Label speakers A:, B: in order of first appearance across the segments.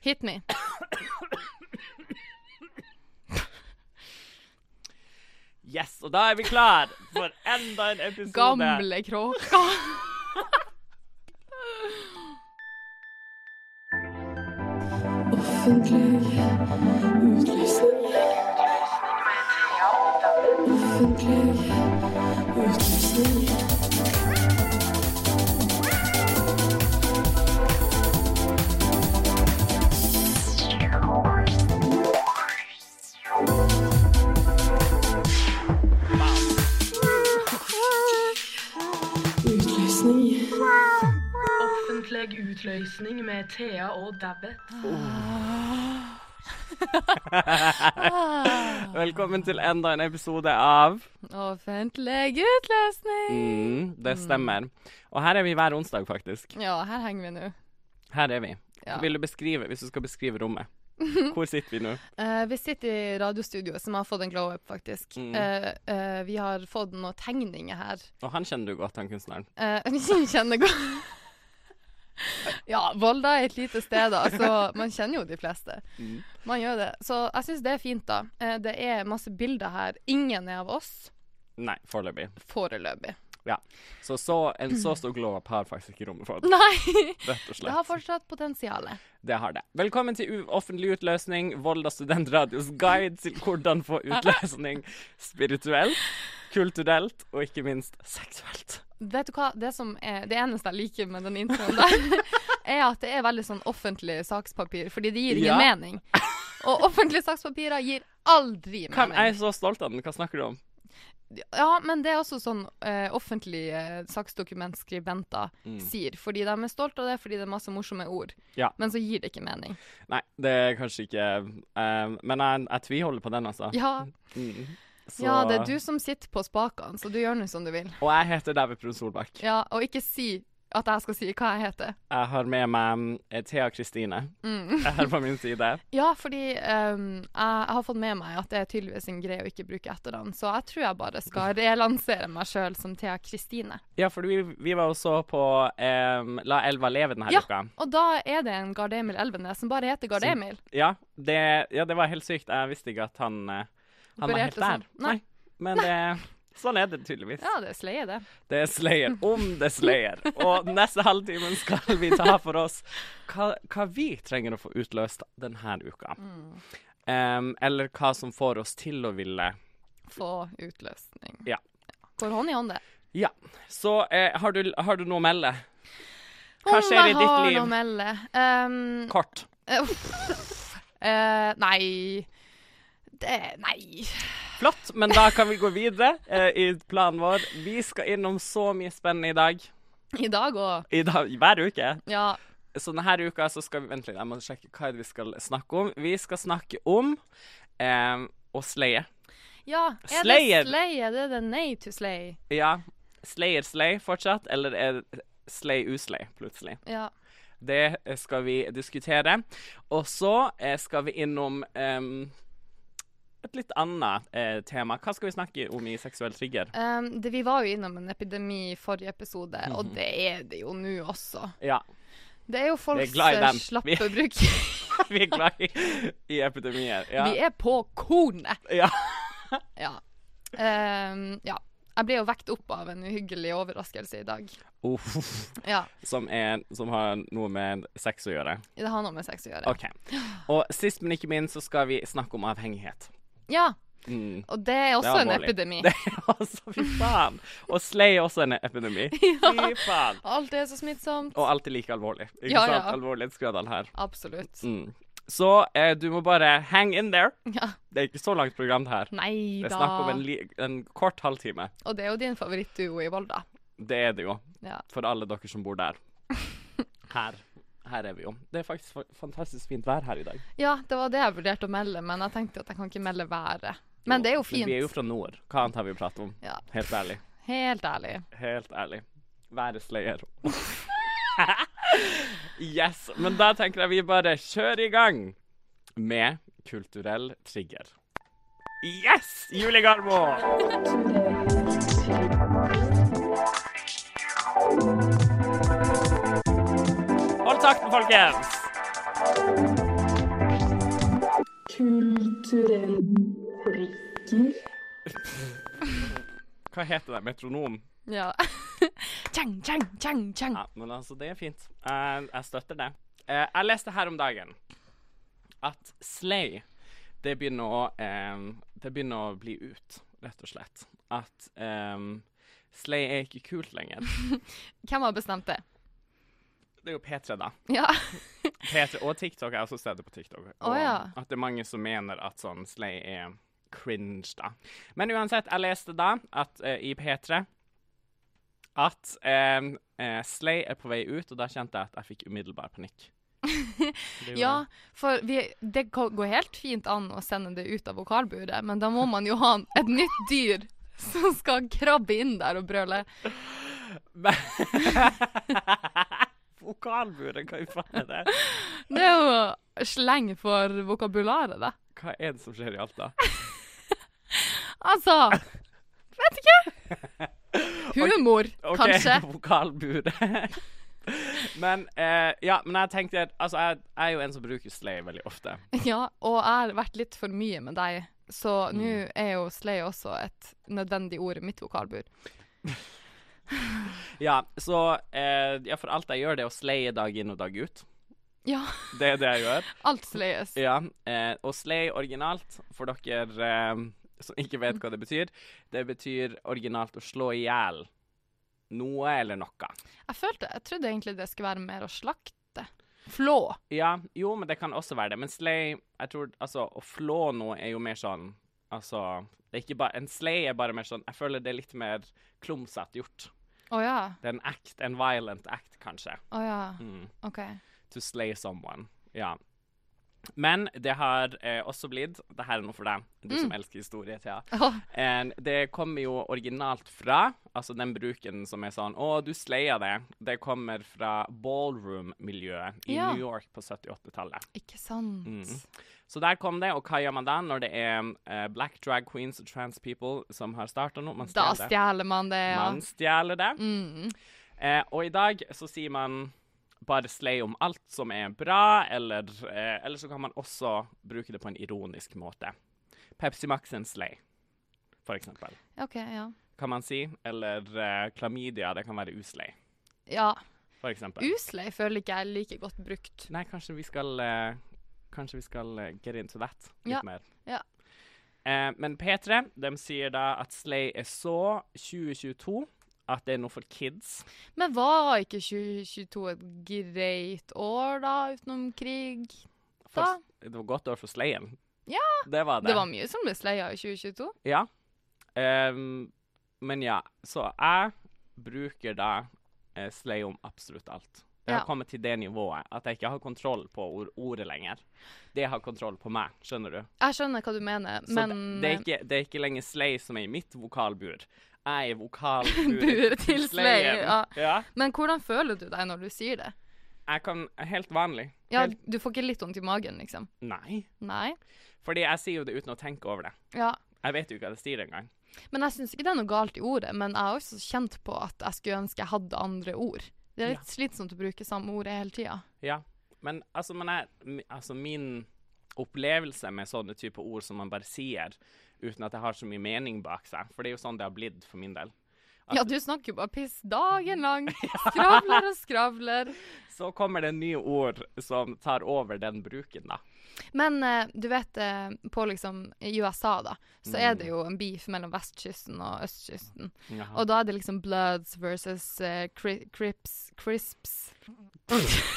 A: Hit me.
B: Yes, og da er vi klar for enda en episode.
A: Gamle kråka.
C: Offentlig utlysning. Offentlig utlysning. Utlysning.
D: Offentlig utløsning med Thea og Dabbet.
B: Velkommen til enda en episode av
A: Offentlig utløsning.
B: mm, Det stemmer. Og her er vi hver onsdag, faktisk.
A: Ja, her henger vi nå.
B: Her er vi.
A: Ja.
B: Mm. Vil du beskrive, hvis du skal beskrive rommet, hvor sitter vi nå?
A: Eh, vi sitter i radiostudioet som har fått en glow up, faktisk.
B: Mm.
A: Eh, eh, vi har fått noen tegninger her.
B: Og han kjenner du godt, han kunstneren.
A: Eh, vi kjenner godt Ja, Volda er et lite sted, da, så man kjenner jo de fleste.
B: Mm.
A: Man gjør det. Så jeg syns det er fint, da. Eh, det er masse bilder her. Ingen er av oss
B: Nei, foreløpig.
A: foreløpig.
B: Ja. Så, så en så stor glow-up har faktisk ikke rommet fått,
A: Nei!
B: rett og slett.
A: Det har fortsatt potensial.
B: Det har det. Velkommen til U- Offentlig utløsning, Volda studentradios guide til hvordan få utløsning spirituelt, kulturelt og ikke minst seksuelt.
A: Vet du hva, det, som er, det eneste jeg liker med den introen der, er at det er veldig sånn offentlig sakspapir, fordi det gir ingen
B: Ja.
A: mening. Og offentlige sakspapirer gir aldri
B: Hva,
A: mening.
B: jeg er så stolt av den. Hva snakker du om?
A: Ja, men det er også sånn eh, offentlige eh, saksdokumentskribenter sier. Fordi de er stolte av det, fordi det er masse morsomme ord.
B: Mm. Ja.
A: Men så gir det ikke mening.
B: Nei, det er kanskje ikke eh, Men jeg, jeg tviholder på den, altså.
A: Ja,
B: Mm. Så-
A: ja det er du som sitter på spakene, så du gjør nå som du vil.
B: Og jeg heter David Brun Solbakk.
A: Ja, Og ikke si at jeg skal si hva jeg heter.
B: Jeg har med meg eh, Thea Kristine
A: Mm.
B: her på min side.
A: Ja, fordi ehm, jeg, jeg har fått med meg at det er tydeligvis en greie å ikke bruke etternavn, så jeg tror jeg bare skal relansere meg sjøl som Thea Kristine.
B: Ja, for vi, vi var jo så på eh, La elva leve denne
A: Ja.
B: uka.
A: Og da er det en Gard Emil Elvenes som bare heter Gard
B: Som-
A: Emil.
B: Ja det, ja, det var helt sykt. Jeg visste ikke at han, eh, han var helt
A: Opererte
B: der.
A: sånn. Nei.
B: Men Det, sånn er det tydeligvis.
A: Ja, det er sleie, det.
B: Det er Slayer om det er Slayer. Og neste halvtimen skal vi ta for oss hva, hva vi trenger å få utløst denne uka. Em, eller hva som får oss til å ville
A: Få utløsning.
B: Ja.
A: Går hånd i hånd, det.
B: Ja. Så eh, har, du, har du noe å melde? Hva
A: Om
B: skjer i
A: jeg har
B: ditt
A: noe å
B: liv?
A: melde? Ehm,
B: Kort.
A: eh, uff. Eh, nei det, Nei.
B: Flott, men da kan vi gå videre eh, i planen vår. Vi skal innom så mye spennende i dag.
A: I dag òg.
B: I dag, hver uke.
A: Ja.
B: Så denne uka så skal vi Vent litt, jeg må sjekke hva er det vi skal snakke om. Vi skal snakke om eh, å sleie.
A: ja. Er
B: Slayer.
A: det sleie? Det er det nei to slay.
B: Ja. Slayer slay fortsatt, eller er det slay uslay plutselig?
A: Ja.
B: Det eh, skal vi diskutere. Og så eh, skal vi innom em, et litt annet eh, tema. Hva skal vi snakke om i seksuell trigger?
A: Ehm, det, vi var jo innom en epidemi i forrige episode,
B: Mhm.
A: og det er det jo nå også.
B: Ja,
A: Det er jo folks
B: glad i
A: eh,
B: dem. Vi-
A: slappe bruk.
B: vi er glad i, i epidemier. Ja.
A: Vi er på kornet!
B: ja.
A: Ja. Ehm, ja. Jeg ble jo vekt opp av en uhyggelig overraskelse i dag.
B: Uff.
A: Ja.
B: som, er, som har noe med sex å gjøre.
A: Det har noe med sex å gjøre.
B: OK. Og sist, men ikke minst, så skal vi snakke om avhengighet.
A: Ja,
B: Mm.
A: og det er også
B: Det er
A: en
B: alvorlig.
A: epidemi.
B: Det er altså, fy faen! Og slay er også en epidemi. Fy faen!
A: Alt er så smittsomt.
B: Og alltid like alvorlig. Ikke
A: Ja,
B: sant?
A: ja.
B: Alvorlighetsgradene her.
A: Absolutt.
B: Mm. Så eh, du må bare hang in there.
A: Ja.
B: Det er ikke så langt program det her.
A: Nei
B: Det er snakk om
A: da.
B: en, li en kort halvtime.
A: Og det er jo din favorittduo i Volda.
B: Det er det jo.
A: Ja.
B: For alle dere som bor der. Her. Her er vi jo. Det er faktisk fa- fantastisk fint vær her i dag.
A: ja, det var det jeg vurderte å melde, men jeg tenkte at jeg kan ikke melde været. Men det er jo fint.
B: vi er jo fra nord. Hva annet har vi å prate om?
A: Ja.
B: Helt ærlig.
A: Helt ærlig.
B: Helt ærlig. Være slayer. yes. Men da tenker jeg vi bare kjører i gang med kulturell trigger. Yes! Julie Garmo! Hold takten, folkens!
C: Kulturell prikker.
B: Hva heter det? Metronom?
A: Ja. tjang, tjang, tjang, tjang.
B: Ja, men altså, det er fint. Jeg, jeg støtter det. Eh, jeg leste her om dagen at slay, det begynner å, eh, det begynner å bli ut, rett og slett. At eh, slay er ikke kult lenger.
A: Hvem har bestemt det?
B: Det er jo P3, da.
A: Ja.
B: P3 og TikTok. Jeg har også sett det på TikTok. Og
A: Å, ja.
B: At det er mange som mener at sånn slay er cringe, da. Men uansett, jeg leste da at eh, i P3 at eh, eh, slay er på vei ut, og da kjente jeg at jeg fikk umiddelbar panikk. Det gjorde
A: ja,
B: jeg.
A: for vi, det ko- går helt fint an å sende det ut av vokalburet, men da må man jo ha et nytt dyr som skal krabbe inn der og brøle.
B: Vokalburet, hva i faen er det?
A: Det er jo sleng for vokabularet, da.
B: Hva er det som skjer i Alta?
A: Altså Vet ikke. Humor,
B: Ok,
A: kanskje.
B: vokalburet. men eh, ja, men jeg tenkte at Altså, jeg, jeg er jo en som bruker slay veldig ofte.
A: Ja, og jeg har vært litt for mye med deg, så
B: Mm.
A: nå er jo slay også et nødvendig ord i mitt vokalbur.
B: Ja, så eh, Ja, for alt jeg gjør, det er å slaye dag inn og dag ut.
A: Ja,
B: Det er det jeg gjør.
A: alt slayes.
B: Ja, eh, Og slay originalt, for dere eh, som ikke vet hva det betyr, det betyr originalt å slå i hjel noe eller noe.
A: Jeg følte, jeg trodde egentlig det skulle være mer å slakte. Flå.
B: Ja, jo, men det kan også være det. Men slay Jeg tror altså Å flå noe er jo mer sånn Altså det er ikke bare, En slay er bare mer sånn Jeg føler det er litt mer klumsete gjort.
A: Å ja.
B: Det er en act, en violent act, kanskje.
A: Å ja.
B: Mm.
A: OK.
B: To slay someone. Ja. Men det har eh, også blitt Det her er noe for deg, du
A: Mm.
B: som elsker historie, Thea.
A: Åh,
B: En- det kommer jo originalt fra Altså den bruken som er sånn Å, du slaya det. Det kommer fra ballroom-miljøet i
A: Ja.
B: New York på 78-tallet.
A: ikke sant.
B: Så der kom det, og hva gjør man da når det er eh, black drag queens og trans people som har starta noe? Man
A: Da
B: stjeler det.
A: stjeler man det, ja.
B: Man stjeler det.
A: Mm.
B: Eh, og i dag så sier man bare slay om alt som er bra, eller, eh, eller så kan man også bruke det på en ironisk måte. Pepsi Max en slay, for eksempel.
A: OK, ja.
B: Kan man si. Eller eh, klamydia, det kan være uslay,
A: Ja.
B: for eksempel.
A: Uslei føler ikke jeg er like godt brukt.
B: Nei, kanskje vi skal eh, Kanskje vi skal eh, get into that litt
A: Ja,
B: mer.
A: ja.
B: Eh, men P3 de sier da at Slay er så 2022 at det er noe for kids.
A: Men var ikke 2022 et greit år, da, utenom krig?
B: For,
A: Da.
B: Det var godt år for Slayen.
A: Ja,
B: Det var det.
A: Det var mye som ble sleia i 2022.
B: Ja. Ehm, men ja, så jeg bruker da eh, Slay om absolutt alt. Det har
A: Ja.
B: kommet til det nivået at jeg ikke har kontroll på ord ordet lenger. Det har kontroll på meg, skjønner du?
A: Jeg skjønner hva du mener,
B: Så
A: men
B: det, det, er ikke, det er ikke lenger Slay som er i mitt vokalbur. Jeg er
A: Buret
B: vokalburet
A: til Slay,
B: Slayen.
A: ja.
B: ja.
A: Men hvordan føler du deg når du sier det?
B: Jeg kan Helt vanlig.
A: Ja,
B: Helt,
A: Du får ikke litt vondt i magen, liksom?
B: nei.
A: Nei?
B: Fordi jeg sier jo det uten å tenke over det.
A: Ja.
B: Jeg vet jo ikke hva det sier engang.
A: Men jeg syns ikke det er noe galt i ordet, men jeg har også kjent på at jeg skulle ønske jeg hadde andre ord. Det er litt slitsomt å bruke samme ordet hele tida.
B: Ja. Men altså, men jeg, mi- altså min opplevelse med sånne type ord som man bare sier uten at det har så mye mening bak seg, for det er jo sånn det har blitt for min del. At-
A: Ja, du snakker jo bare piss dagen lang. Skravler og skravler.
B: Så kommer det nye ord som tar over den bruken, da.
A: Men eh, du vet, eh, på liksom i USA, da, så er det jo en beef mellom vestkysten og østkysten. Og da er det liksom Bloods versus eh, cri Crips Crisps.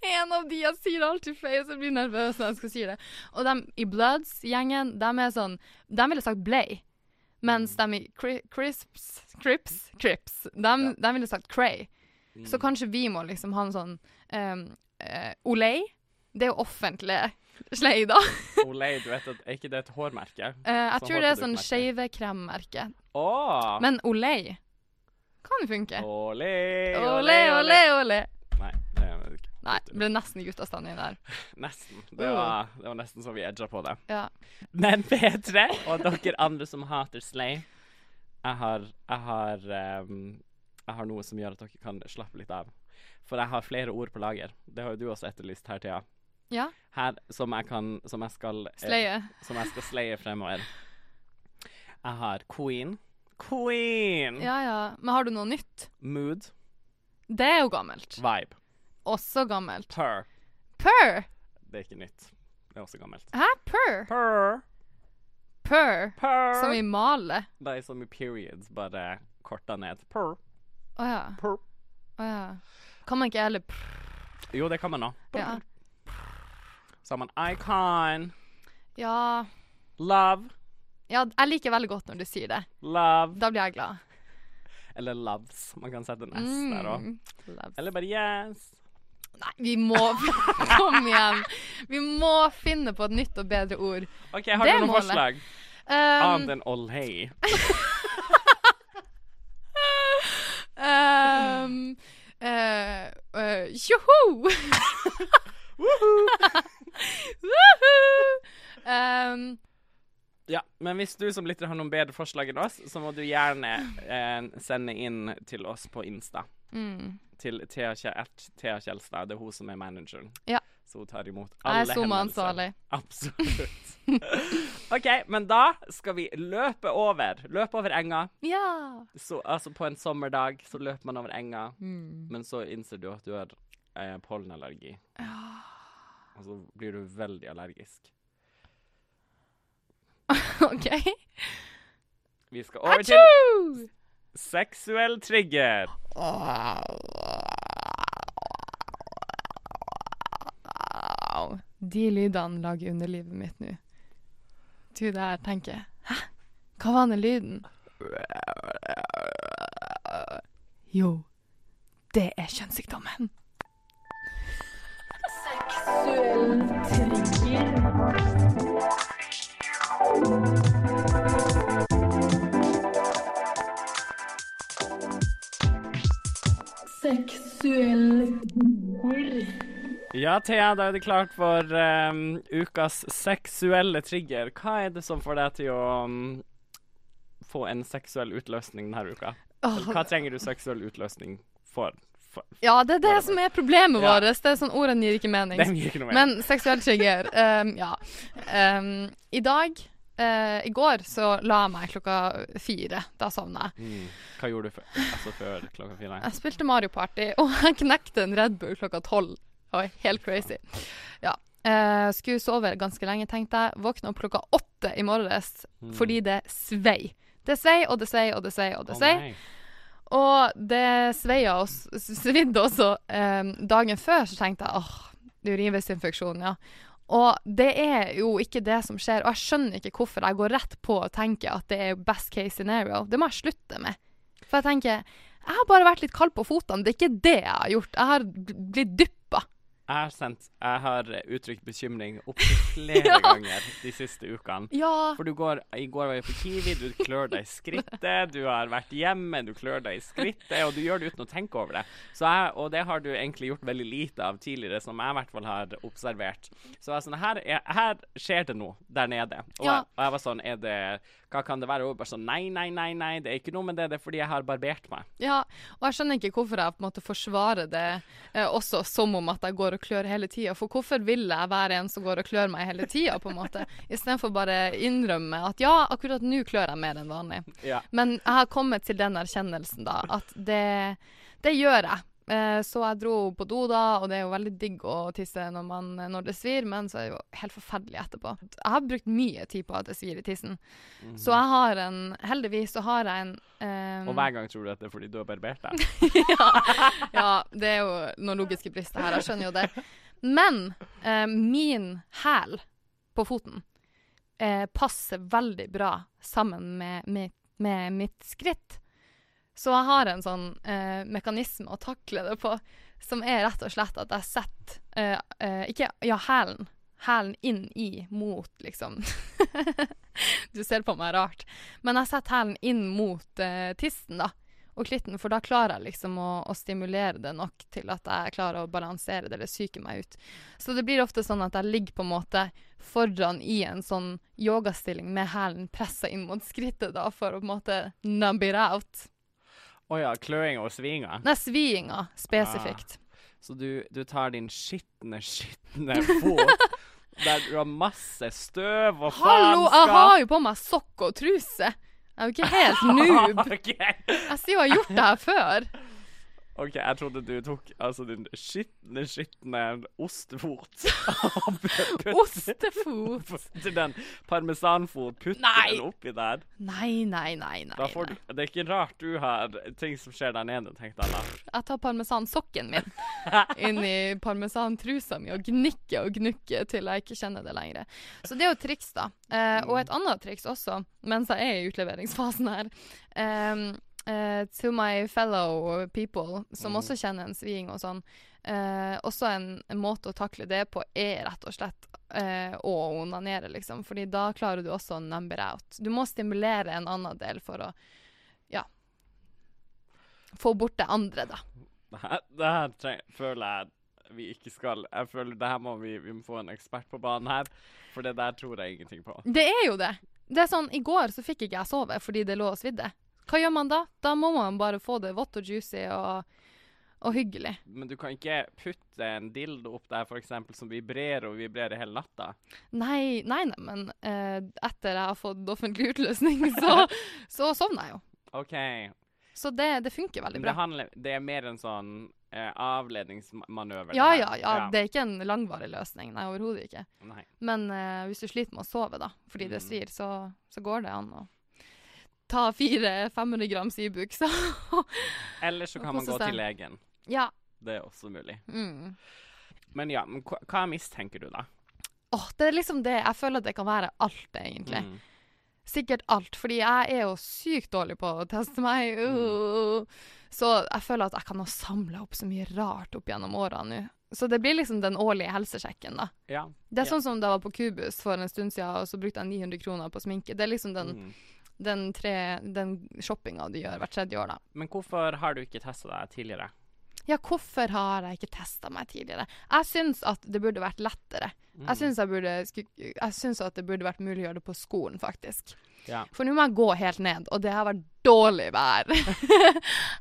A: en av de jeg sier alltid feil, så jeg blir nervøs når jeg skal si det. Og de i Bloods-gjengen, de er sånn De ville sagt Blay. Mens de i cri Crisps Crips Crips, de, de ville sagt Cray.
B: Mm.
A: Så kanskje vi må liksom ha en sånn um, Olay. Det er jo offentlig slei, da.
B: Olay, du vet at er ikke det et hårmerke?
A: Eh, jeg
B: Sånn
A: tror det er sånn
B: hårproduktmerke.
A: skeive kremmerke.
B: Åh!
A: Men Olay kan funke.
B: Olay,
A: Olé, olé, olé.
B: Nei, det er det ikke.
A: Nei, det ble nesten guttastand i der.
B: Nesten. Det
A: Mm.
B: var, det var nesten så vi edga på det.
A: Ja.
B: Men P3 og dere andre som hater Slay, jeg har, jeg har, ehm, jeg har noe som gjør at dere kan slappe litt av. For jeg har flere ord på lager. Det har jo du også etterlyst her, Thea.
A: Ja.
B: her som jeg kan Som jeg skal eh,
A: Sløye.
B: Som jeg skal slaye fremover. Jeg har Queen. Queen!
A: Ja, ja. Men har du noe nytt?
B: Mood.
A: Det er jo gammelt.
B: Vibe.
A: Også gammelt.
B: Purr.
A: Purr!
B: Det er ikke nytt. Det er også gammelt.
A: Hæ? Purr?
B: Purr.
A: Purr.
B: Purr.
A: Som i male.
B: Det er som i periods, bare korta ned. Purr.
A: Å ja.
B: Purr.
A: Å ja. Kan man ikke heller prr?
B: Jo, det kan man nå.
A: Ja.
B: Så har man icon.
A: ja.
B: Love.
A: Ja, jeg liker veldig godt når du sier det.
B: Love.
A: Da blir jeg glad.
B: Eller loves. Man kan sette en S
A: Mm.
B: der òg.
A: Loves.
B: Eller bare yes.
A: Nei, vi må Kom igjen. Vi må finne på et nytt og bedre ord.
B: OK, har
A: Det
B: du
A: er
B: noen
A: målet.
B: forslag?
A: Um,
B: Annet enn all hey.
A: um, eh, eh, Tjoho! Woohoo! um,
B: Ja, men hvis du som lytter har noen bedre forslag enn oss, så må du gjerne eh, sende inn til oss på Insta.
A: mm.
B: Til Thea, Kje- at Thea Kjelstad. Det er hun som er manageren.
A: Ja.
B: Så hun tar imot alle
A: Jeg er SoMe-ansvarlig.
B: Absolutt. OK, men da skal vi løpe over. Løpe over enga.
A: Ja.
B: Så, altså på en sommerdag så løper man over enga,
A: Mm.
B: men så innser du at du har eh, pollenallergi.
A: Ah.
B: Og så blir du veldig allergisk.
A: OK.
B: Vi skal over til
A: Tjo!
B: seksuell trigger.
A: Au. De lydene lager underlivet mitt nå. Du der tenker Hæ? Hva var den lyden? Jo, det er kjønnssykdommen.
C: Seksuell trigger. Seksuell trigger.
B: Ja, Thea, da er det klart for ehm, ukas seksuelle trigger. Hva er det som får deg til å mm, få en seksuell utløsning denne uka? Eller Hva trenger du seksuell utløsning for? for?
A: Ja, det er det som er problemet
B: Ja.
A: vårt. Det er sånn ordene gir ikke mening.
B: Den gir ikke noe mer.
A: Men seksuell trigger, ehm, ja. Ehm, I dag, eh, i går, så la jeg meg klokka fire. Da sovna jeg.
B: Mm. Hva gjorde du før, altså før klokka fire?
A: Jeg spilte Mario Party, og jeg knekte en Red Bull klokka tolv. Det var helt crazy. Ja. Eh, skulle sove ganske lenge, tenkte jeg. Våkna opp klokka åtte i morges
B: Mm.
A: fordi det svei. Det svei og det svei og det svei og det
B: Å,
A: svei.
B: nei.
A: Og det sveia oss, svidde også. Em, dagen før så tenkte jeg åh, urinveisinfeksjon, ja. Og det er jo ikke det som skjer, og jeg skjønner ikke hvorfor jeg går rett på å tenke at det er best case scenario. Det må jeg slutte med. For jeg tenker, jeg har bare vært litt kald på fotene, det er ikke det jeg har gjort. Jeg har bl- blitt dyppa.
B: Jeg har sendt Jeg har uttrykt bekymring opptil flere
A: Ja.
B: ganger de siste ukene.
A: Ja,
B: For du går, I går var jeg på Kiwi, du klør deg i skrittet, du har vært hjemme, du klør deg i skrittet, og du gjør det uten å tenke over det. Så jeg, og det har du egentlig gjort veldig lite av tidligere, som jeg i hvert fall har observert. Så jeg er sånn, her, er, her skjer det noe der nede. Og,
A: Ja.
B: jeg, og jeg var sånn, er det, hva kan det være? Og hun bare sånn, nei, nei, nei, nei, det er ikke noe med det, det er fordi jeg har barbert meg.
A: ja. Og jeg skjønner ikke hvorfor jeg på en måte forsvarer det eh, også som om at jeg går og klør hele tida. For hvorfor vil jeg være en som går og klør meg hele tida, på en måte? Istedenfor bare innrømme at ja, akkurat nå klør jeg mer enn vanlig.
B: Ja.
A: Men jeg har kommet til den erkjennelsen, da, at det, det gjør jeg. Eh, Så jeg dro på do da, og det er jo veldig digg å tisse når, man, når det svir, men så er det jo helt forferdelig etterpå. Jeg har brukt mye tid på at det svir i tissen, så jeg har en Heldigvis så har jeg en eh,
B: Mhm. Og hver gang tror du at det er fordi du har barbert deg.
A: ja, ja, det er jo noen logiske brister her, jeg skjønner jo det. Men eh, min hæl på foten eh, passer veldig bra sammen med, mitt- med mitt skritt. Så jeg har en sånn eh, mekanisme å takle det på, som er rett og slett at jeg setter eh, eh, Ikke ja, hælen. Hælen inn i, mot, liksom. du ser på meg rart. Men jeg setter hælen inn mot eh, tissen, da og klitten, for da klarer jeg liksom å, å stimulere det nok til at jeg klarer å balansere det eller psyke meg ut. Så det blir ofte sånn at jeg ligger på en måte foran i en sånn yogastilling med hælen pressa inn mot skrittet, da, for å på en måte numb it out.
B: Åja, kløing og svinga. Ah,
A: Nei, sviinga spesifikt.
B: Så du, du tar din skitne, skitne fot der du har masse støv og
A: Hallo, jeg
B: faenskap.
A: har jo på meg sokk og truse. Jeg er jo ikke helt noob.
B: OK.
A: Jeg sier jo jeg har gjort det her før.
B: OK, jeg trodde du tok altså din skitne, skitne ostefot og put- put-
A: Ostefot.
B: putter den parmesanfot, putter
A: Nei.
B: den oppi der.
A: Nei, nei, nei, nei.
B: Da får du,
A: nei.
B: det er ikke rart du har ting som skjer der nede, tenkte jeg da.
A: Jeg tar parmesansokken min inn i parmesantrusa mi og gnikker og gnukker til jeg ikke kjenner det lenger. Så det er jo et triks, da. Eh, og et annet triks også, mens jeg er i utleveringsfasen her. Ehm, eh, to my fellow people, som også kjenner en sving og sånn. Eh, også en, en måte å takle det på er rett og slett eh, å onanere, liksom. Fordi da klarer du også å number out. Du må stimulere en annen del for å ja få bort det andre, da.
B: Det her, det her tre- føler jeg vi ikke skal Jeg føler det her må vi, vi må få en ekspert på banen her, for det der tror jeg ingenting på.
A: Det er jo det. Det er sånn, I går så fikk ikke jeg sove fordi det lå og svidde. Hva gjør man da? Da må man bare få det vått og juicy og, og hyggelig.
B: Men du kan ikke putte en dildo opp der for eksempel, som vibrerer og vibrerer hele natta.
A: Nei, nei, nei, men eh, etter jeg har fått offentlig utløsning, så, så sovner jeg jo.
B: OK.
A: Så det, det funker veldig
B: Men det,
A: bra.
B: handler, det er mer en sånn eh, avledningsmanøver. det
A: Ja,
B: her.
A: ja, ja. Det er ikke en langvarig løsning. Nei, overhodet ikke.
B: Nei.
A: Men eh, hvis du sliter med å sove, da, fordi
B: Mm.
A: det svir, så, så går det an å ta fire 500 grams Ibux. så-
B: Eller så
A: Og
B: kan man gå
A: kose seg.
B: til legen.
A: ja.
B: Det er også mulig.
A: Mm.
B: Men ja, men hva, hva mistenker du, da?
A: Åh, det er liksom det. Jeg føler at det kan være alt, egentlig.
B: Mm.
A: Sikkert alt, fordi jeg er jo sykt dårlig på å teste meg.
B: Mm.
A: Uh. Så jeg føler at jeg kan ha samla opp så mye rart opp gjennom åra nå. Så det blir liksom den årlige helsesjekken, da.
B: Ja.
A: Det er
B: Ja.
A: sånn som da jeg var på Kubus for en stund siden, og så brukte jeg 900 kroner på sminke. Det er liksom den,
B: Mm.
A: den, tre- den shoppinga du gjør hvert tredje år, da.
B: Men hvorfor har du ikke testa deg tidligere?
A: Ja, hvorfor har jeg ikke testa meg tidligere? Jeg syns at det burde vært lettere.
B: Mm.
A: Jeg syns jeg burde sku- Jeg syns at det burde vært mulig å gjøre det på skolen, faktisk.
B: Ja.
A: For nå må jeg gå helt ned, og det har vært dårlig vær.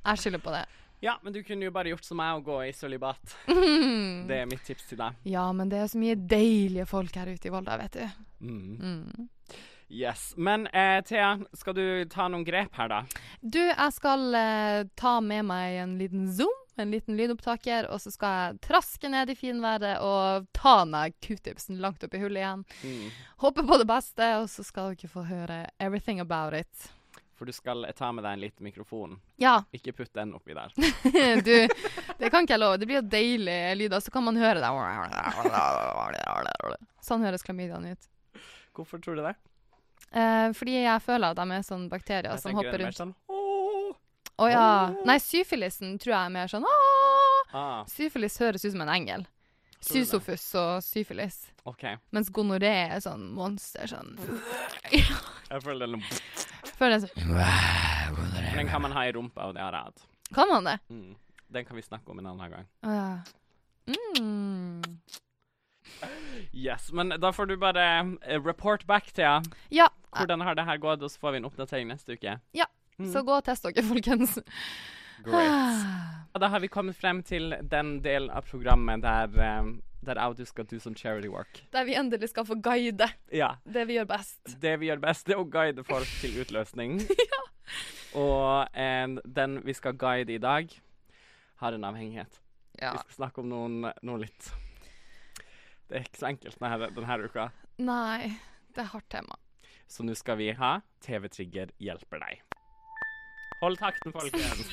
A: jeg skylder på det.
B: Ja, men du kunne jo bare gjort som meg og gå i sølibat. Det er mitt tips til deg.
A: Ja, men det er så mye deilige folk her ute i Volda, vet du.
B: Mm. Yes. Men eh, Thea, skal du ta noen grep her, da?
A: Du, jeg skal eh, ta med meg en liten zoom, en liten lydopptaker, og så skal jeg traske ned i finværet og ta meg q-tipsen langt opp i hullet igjen.
B: Mm.
A: Håper på det beste, og så skal dere få høre everything about it.
B: For du skal ta med deg en liten mikrofon.
A: Ja,
B: Ikke putt den oppi der.
A: du, det kan ikke jeg love. Det blir jo deilig lyd, og så kan man høre det. Sånn høres klamydiaen ut.
B: Hvorfor tror du det?
A: Eh, fordi jeg føler at de er sånn bakterier som hopper rundt.
B: Sånn, «Åh!»
A: Å ja. Nei, syfilisen tror jeg er mer sånn «Åh!»
B: ah,
A: Syfilis høres ut som en engel.
B: Tror du det?
A: Sysofus og syfilis.
B: OK.
A: Mens gonoré er sånn monster, sånn
B: Jeg føler den,
A: Føler jeg sånn
B: den kan man ha i rumpa, og det har jeg hatt.
A: Kan man det?
B: Mm. Den kan vi snakke om en annen gang.
A: Å ja. Mm.
B: Yes, Men da får du bare eh, report back, Thea.
A: Ja.
B: Hvordan har det her gått? Og så får vi en oppdatering neste uke. Mm,
A: ja. Så gå og test dere, folkens.
B: Great. Og Da har vi kommet frem til den delen av programmet der, eh, der jeg og du skal do some charity work.
A: Der vi endelig skal få guide
B: Ja.
A: det vi gjør best.
B: Det vi gjør best, det er å guide folk til utløsning. Og eh, den vi skal guide i dag, har en avhengighet.
A: Ja.
B: Vi skal snakke om noen, noe litt. Det er ikke så enkelt denne, denne uka.
A: Nei, det er hardt tema.
B: Så nå skal vi ha TV-trigger hjelper deg. Hold takten, folkens.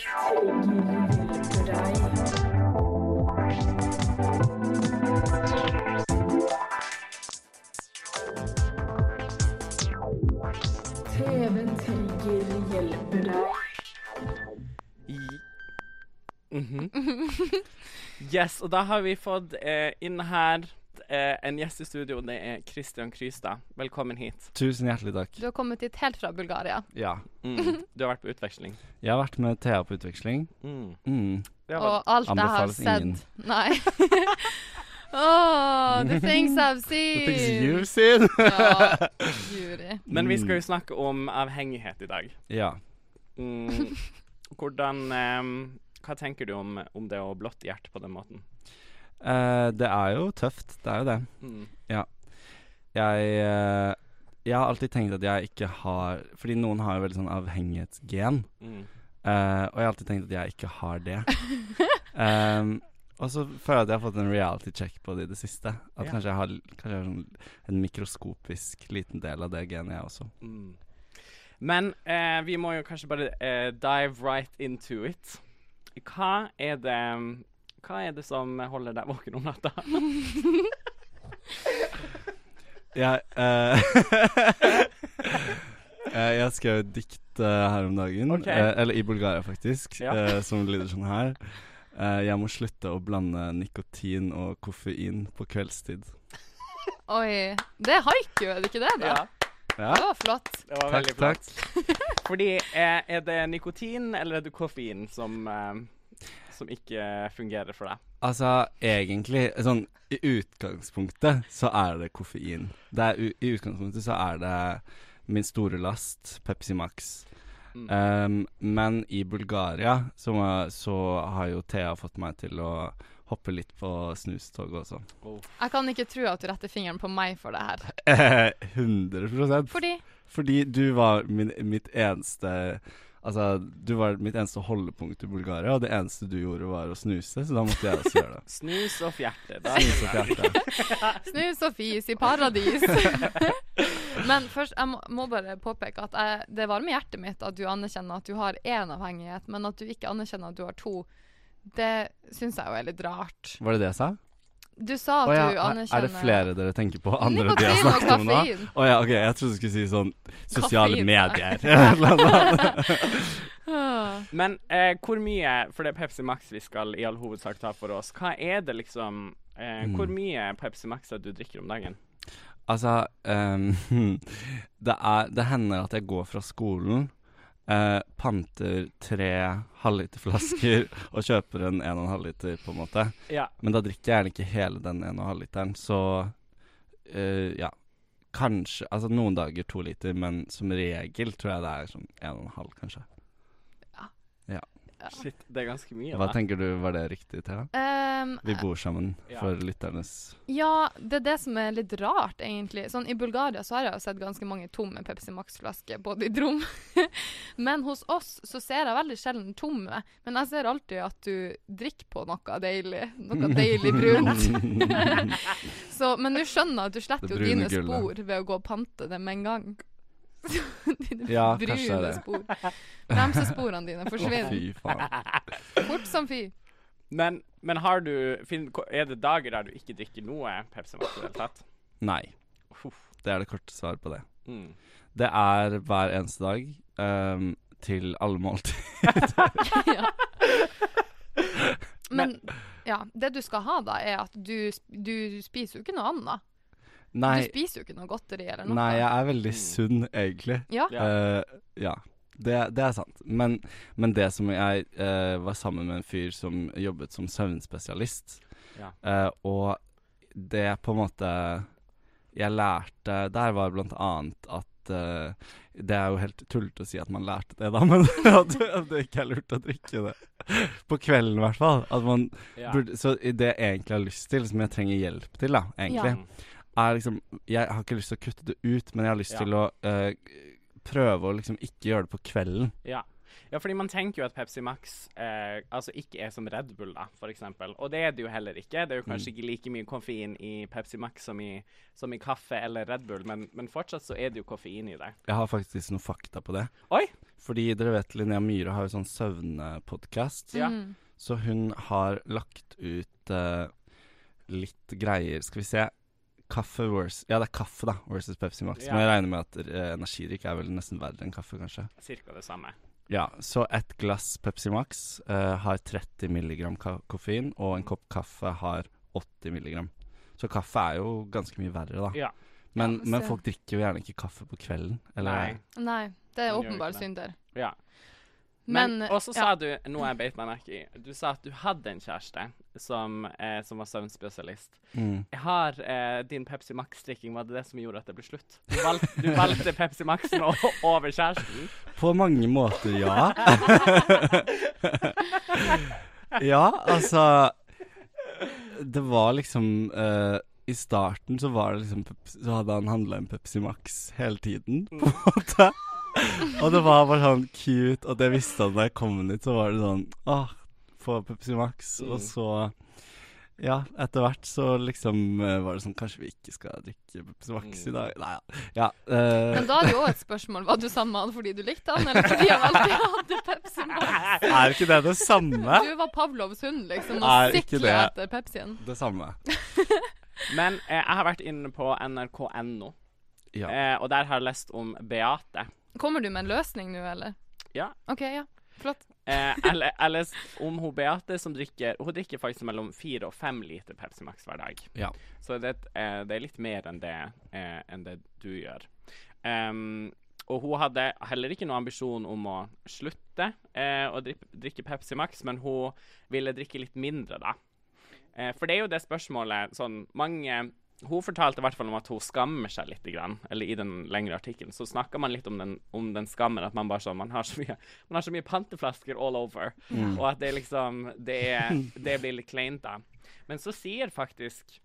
C: TV-trigger hjelper deg.
B: I Mhm. Yes, og da har vi fått eh, inn her eh, en gjest i studio. Det er Christian Krystad. Velkommen hit.
E: Tusen hjertelig takk.
A: Du har kommet hit helt fra Bulgaria.
E: Ja.
B: Mm. Du har vært på utveksling.
E: Jeg har vært med Thea på utveksling.
B: Mm.
E: Mm.
B: Det var-
A: Og alt jeg har
E: Anbefales
A: sett
E: ingen.
A: Nei. oh, the things I've seen.
E: seen!
A: ja, Juri.
B: Men vi skal jo
E: Mm.
B: snakke om avhengighet i dag.
E: ja.
B: Mm. Hvordan eh, Hva tenker du om, om det å blotte hjertet på den måten?
E: Eh, det er jo tøft, det er jo det.
B: Mm.
E: Jeg, eh, jeg har alltid tenkt at jeg ikke har Fordi noen har jo veldig sånn avhengighetsgen.
B: Mm.
E: Eh, og jeg har alltid tenkt at jeg ikke har det. Ehm, og så føler jeg at jeg har fått en reality check på det i det siste. At
B: Ja.
E: kanskje jeg har, kanskje jeg har sånn en mikroskopisk liten del av det genet, jeg også.
B: Mm. Men eh, vi må jo kanskje bare eh, dive right into it. Hva er det Hva er det som holder deg våken om natta?
E: Jeg, eh, eh, jeg skrev et dikt eh, her om dagen,
B: Ok.
E: eh, eller i Bulgaria faktisk,
B: Ja.
E: eh, som lyder sånn her. Eh, jeg må slutte å blande nikotin og koffein på kveldstid.
A: Oi. Det er haiku, er det ikke det? da?
E: Ja,
A: Det var flott.
B: det var
E: takk,
B: veldig flott.
E: takk.
B: Fordi eh, er det nikotin eller er det koffein som eh, som ikke fungerer for deg?
E: Altså, egentlig, sånn i utgangspunktet så er det koffein. Det er, u- I utgangspunktet så er det min store last, Pepsi Max.
B: Mm.
E: Um, men i Bulgaria så, må- så har jo Thea fått meg til å hoppe litt på snustoget også.
A: Jeg kan ikke tro at du retter fingeren på meg for det her.
E: 100
A: Fordi
E: Fordi du var min, mitt eneste Altså, du var mitt eneste holdepunkt i Bulgaria, og det eneste du gjorde, var å snuse, så da måtte jeg også gjøre det.
B: Snus og fjerte. Da
E: Snuse opp hjertet.
A: snus og fis i paradis. Men først, jeg må, må bare påpeke at jeg, det varmer hjertet mitt at du anerkjenner at du har én avhengighet, men at du ikke anerkjenner at du har to. Det syns jeg jo er litt rart.
E: Var det det jeg sa?
A: Du sa at
E: Å ja,
A: du
E: er-
A: anerkjenner
E: Er det flere dere tenker på? Andre de har
A: Nikotin og
E: snakket om nå?
A: kaffein.
E: Å ja, ok, jeg trodde du skulle si sånn sosiale
A: Kaffein, ja.
E: medier. Eller noe annet.
A: Ah.
B: Men eh, hvor mye, for det er Pepsi Max vi skal i all hovedsak ta for oss, hva er det liksom eh,
E: Mm.
B: Hvor mye Pepsi Max er det du drikker om dagen?
E: altså, ehm, det, er, det hender at jeg går fra skolen, eh, panter tre halvliterflasker og kjøper en en og en halv liter, på en måte.
B: Ja.
E: Men da drikker jeg gjerne ikke hele den en og en halv literen, så eh, ja. Kanskje Altså noen dager to liter, men som regel tror jeg det er sånn en og en halv, kanskje.
B: Shit, det er ganske mye.
E: Hva
B: da.
E: tenker du, var det riktig, Thea?
A: Ehm,
E: Vi bor sammen,
B: Ja.
E: for lytternes
A: Ja, det er det som er litt rart, egentlig. Sånn, I Bulgaria så har jeg jo sett ganske mange tomme Pepsi Max-flasker, både i rom. men hos oss så ser jeg veldig sjelden tomme. Men jeg ser alltid at du drikker på noe deilig. Noe deilig brunt. så, men du skjønner at du
E: Det
A: sletter jo
E: brune
A: dine
E: gullet.
A: spor ved å gå og pante det med en gang. dine
E: Ja, kanskje det er
A: brune
E: det.
A: spor. Bremsesporene dine
E: Å,
A: forsvinner
E: Fy faen.
A: fort som fy.
B: Men, men har du fin, ko- Er det dager der du ikke drikker noe Pepsi Max i det hele tatt?
E: Nei.
B: Huff.
E: Det er det korte svaret på det.
B: Mm.
E: Det er hver eneste dag ehm, til alle måltid.
A: ja. Men ja, det du skal ha da, er at du, sp- du spiser jo ikke noe annet. Du
E: Nei,
A: spiser jo ikke noe godteri eller noe.
E: nei, jeg er veldig
B: Mm.
E: sunn, egentlig.
A: Ja,
B: Ja.
E: Eh, ja. Det, det er sant. Men, men det som jeg eh, var sammen med en fyr som jobbet som søvnspesialist,
B: Ja.
E: Eh, og det på en måte jeg lærte Der var blant annet at eh, Det er jo helt tullete å si at man lærte det, da, men at, at det ikke er lurt å drikke det. På kvelden, i hvert fall. At man
B: Ja.
E: burde, så det jeg egentlig har lyst til, som jeg trenger hjelp til, da, egentlig,
B: Mm.
E: er liksom Jeg har ikke lyst til å kutte det ut, men jeg har lyst
B: Ja.
E: til å eh, prøve å liksom ikke gjøre det på kvelden.
B: Ja. ja, fordi man tenker jo at Pepsi Max eh, altså ikke er som Red Bull, da, for eksempel. Og det er det jo heller ikke. Det er jo
E: Mm.
B: kanskje ikke like mye koffein i Pepsi Max som i, som i kaffe eller Red Bull, men, men fortsatt så er det jo koffein i det.
E: Jeg har faktisk noen fakta på det.
B: Oi!
E: Fordi dere vet Linnea Myhre har jo sånn søvnepodkast.
B: Ja.
A: Mm.
E: Så hun har lagt ut eh, litt greier. Skal vi se. Kaffe versus Ja, det er kaffe, da, versus Pepsi Max.
B: Ja.
E: Men jeg regner med at eh, energidrikk er vel nesten verre enn kaffe, kanskje.
B: Cirka det samme.
E: Ja, så et glass Pepsi Max eh, har 30 milligram ka koffein, og en kopp kaffe har 80 milligram. Så kaffe er jo ganske mye verre, da.
B: Ja.
E: Men,
A: Ja,
E: men
A: så-
E: folk drikker jo gjerne ikke kaffe på kvelden. Eller
B: Nei.
A: Nei, det er
B: Man gjør
A: åpenbar
B: ikke det.
A: synder.
B: Ja. Men,
A: Men,
B: Og så
A: ja.
B: sa du noe jeg beit meg merke i. Du sa at du hadde en kjæreste som, eh, som var søvnspesialist.
E: Mm.
B: Jeg har eh, din Pepsi Max-drikking. Var det det som gjorde at det ble slutt? Du valgte, du valgte Pepsi Maxen o- over kjæresten.
E: På mange måter, ja. ja, altså Det var liksom eh, I starten så var det liksom Pepsi, Så hadde han handla en Pepsi Max hele tiden, på en måte. Og det var bare sånn cute, og det visste han da jeg kom dit, så var det sånn Åh, få Pepsi Max. Og så ja, etter hvert så liksom eh, var det sånn Kanskje vi ikke skal drikke Pepsi Max i dag? Nei, ja. eh,
A: Men da er det jo også et spørsmål. Var du sammen med han fordi du likte han, eller fordi han alltid hadde Pepsi Max?
E: er ikke det det samme?
A: Du var Pavlovs hund, liksom,
E: Er
A: og
E: ikke
A: sikla
E: det-
A: etter Pepsien.
E: Det samme.
B: Men eh, jeg har vært inne på nrk.no,
E: Ja.
B: eh, og der har jeg lest om Beate.
A: Kommer du med en løsning nå, eller?
B: Ja.
A: OK, ja. Flott.
B: Eh, jeg le- jeg leste om hun Beate som drikker Hun drikker faktisk mellom fire og fem liter Pepsi Max hver dag.
E: ja.
B: Så det, eh, det er litt mer enn det, eh, enn det du gjør. Ehm, og hun hadde heller ikke noen ambisjon om å slutte eh, å drikke, drikke Pepsi Max, men hun ville drikke litt mindre, da. Eh, for det er jo det spørsmålet sånn mange hun fortalte i hvert fall om at hun skammer seg litt. Grann, eller I den lengre artikkelen så snakker man litt om den, om den skammen. At man bare sånn, man har så mye, man har så mye panteflasker all over. Og at det liksom Det, er- det blir litt kleint, da. Men så sier faktisk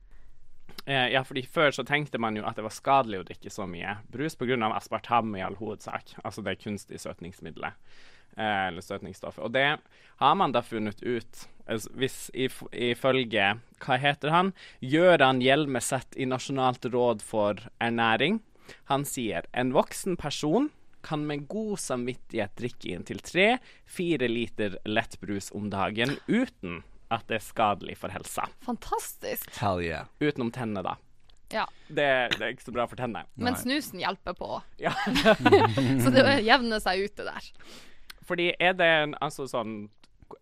B: Eh, ja, fordi før så tenkte man jo at det var skadelig å drikke så mye brus pga. aspartam i all hovedsak, altså det kunstige søtningsmiddelet, eh, eller søtningsstoffet. Og det har man da funnet ut, altså, hvis if, ifølge Hva heter han? Gøran Hjelmeset i Nasjonalt råd for ernæring. Han sier en voksen person kan med god samvittighet drikke inntil tre-fire liter lettbrus om dagen uten at det er skadelig for helsa.
A: Fantastisk.
E: Hell yeah.
B: Utenom tennene, da.
A: Ja.
B: Det, det er ikke så bra for tennene.
A: Men
E: Nei.
A: snusen hjelper på.
B: Ja.
A: Så det jevner seg ut, det der.
B: Fordi er det en, altså sånn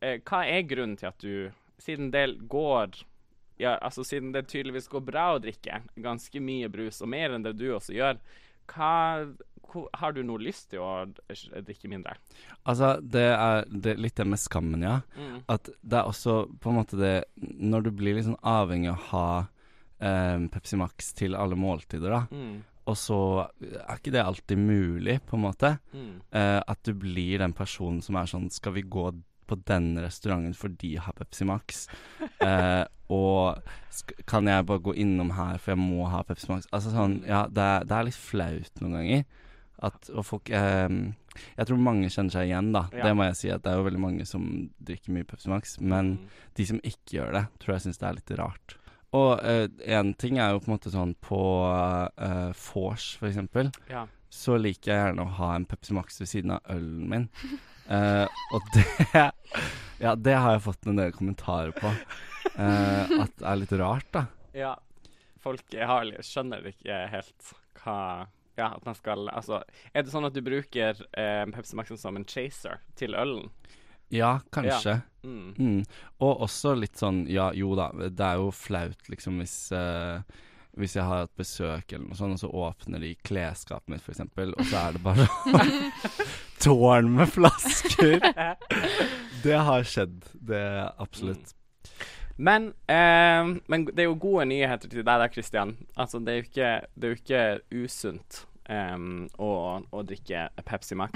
B: eh, Hva er grunnen til at du, siden det går ja, altså Siden det tydeligvis går bra å drikke ganske mye brus, og mer enn det du også gjør, hva, hvor- har du noe lyst til å drikke mindre?
E: Altså, det er det, litt det med skammen, ja. At det er også på en måte det Når du blir litt sånn avhengig av å ha eh, Pepsi Max til alle måltider, da,
B: Mm.
E: og så er ikke det alltid mulig, på en måte.
B: mm.
E: Eh, at du blir den personen som er sånn Skal vi gå på den restauranten for de har Pepsi Max? Eh, og sk kan jeg bare gå innom her, for jeg må ha Pepsi Max? Altså sånn, ja, det er, det er litt flaut noen ganger. At, og folk eh, Jeg tror mange kjenner seg igjen, da.
B: Ja.
E: Det må jeg si. at Det er jo veldig mange som drikker mye Pepsi Max. Men de som ikke gjør det, tror jeg syns det er litt rart. Og én ting er jo på en måte sånn på eh, vors, for eksempel
B: Ja.
E: så liker jeg gjerne å ha en Pepsi Max ved siden av ølen min. Eh, og det Ja, det har jeg fått en del kommentarer på. eh, at det er litt rart, da.
B: ja. Folk har, skjønner ikke helt hva ja, at man skal, altså, Er det sånn at du bruker eh, Pepsi Maxen som en chaser til ølen?
E: Ja, kanskje.
B: Mm.
E: Mm. Og også litt sånn Ja, jo da, det er jo flaut, liksom, hvis eh, hvis jeg har hatt besøk eller noe sånt, og så åpner de klesskapet mitt, f.eks., og så er det bare tårn med flasker. Det har skjedd. Det absolutt.
B: Men, eh, men det er jo gode nyheter til deg da, Kristian. Altså, det er jo ikke, det er jo ikke usunt em, å, å drikke Pepsi Max.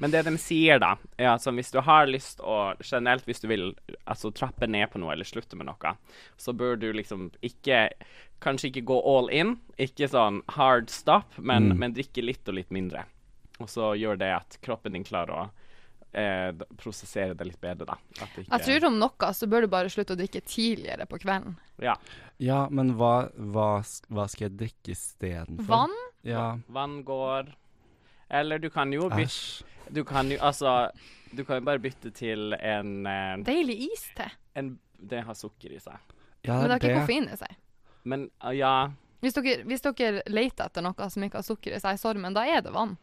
B: Men det de sier, da, er at sånn, hvis du har lyst å Generelt hvis du vil altså, trappe ned på noe eller slutte med noe, så bør du liksom ikke Kanskje ikke gå all in. Ikke sånn hard stop, men,
A: Mm.
B: men drikke litt og litt mindre. Og så gjør det at kroppen din klarer å eh, d- prosessere det litt bedre, da. At det ikke,
A: Jeg tror om noe så bør du bare slutte å drikke tidligere på kvelden.
B: ja.
E: Ja, men hva, hva, sk- hva skal jeg drikke istedenfor?
A: Vann?
E: Ja.
B: Vann går Eller du kan
E: Ah.
B: jo bytte
E: Æsj.
B: Du kan jo altså Du kan jo bare bytte til en, eh,
A: Deilig iste.
B: en Det har sukker i seg.
E: Ja,
A: Men det
E: det
A: har ikke
E: er det.
A: koffein i seg.
B: Men ah, ja
A: Hvis dere, hvis dere leter etter noe som ikke har sukker i seg, sorry, men da er det vann.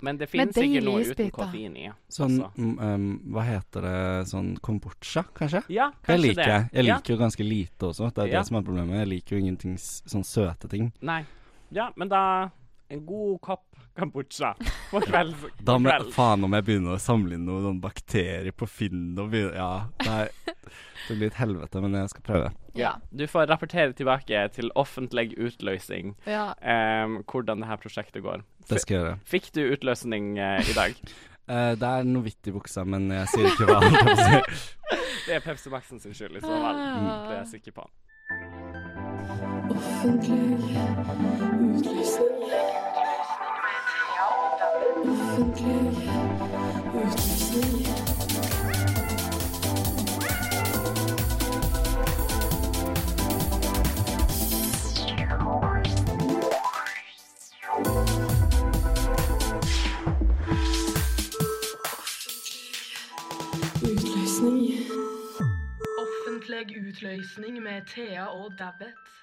B: Men det
A: Men
B: finnes ikke
A: deilig
B: noe uten
A: isbiter.
B: koffein i.
E: Sånn,
B: altså.
E: mm, um, hva heter det, sånn kombucha, kanskje?
B: Ja, kanskje
E: det liker jeg. Jeg
B: Ja,
E: liker jo ganske lite også, det er
B: Ja.
E: det som er problemet. Jeg liker jo ingenting s- sånn søte ting.
B: nei. Ja, men da en god kopp kombucha på kveld.
E: Da må
B: Vel.
E: faen om jeg begynner å samle inn noen sånn bakterier på Finn og begynner Ja, nei. Det blir et helvete, men jeg skal prøve.
A: Ja.
B: Du får rapportere tilbake til offentlig utløsning
A: ja.
B: em, hvordan det her prosjektet går.
E: Det skal jeg gjøre.
B: Fikk du utløsning eh, i dag?
E: Eh, det er noe hvitt i buksa, men jeg sier ikke hva. holdt jeg på å si.
B: Det er Pepsi Max sin skyld, i så fall. Det er jeg sikker på.
C: Offentlig utlysning. Offentlig utlysning. Offentlig utlysning.
D: Offentlig utløsning med Thea og Dabbet.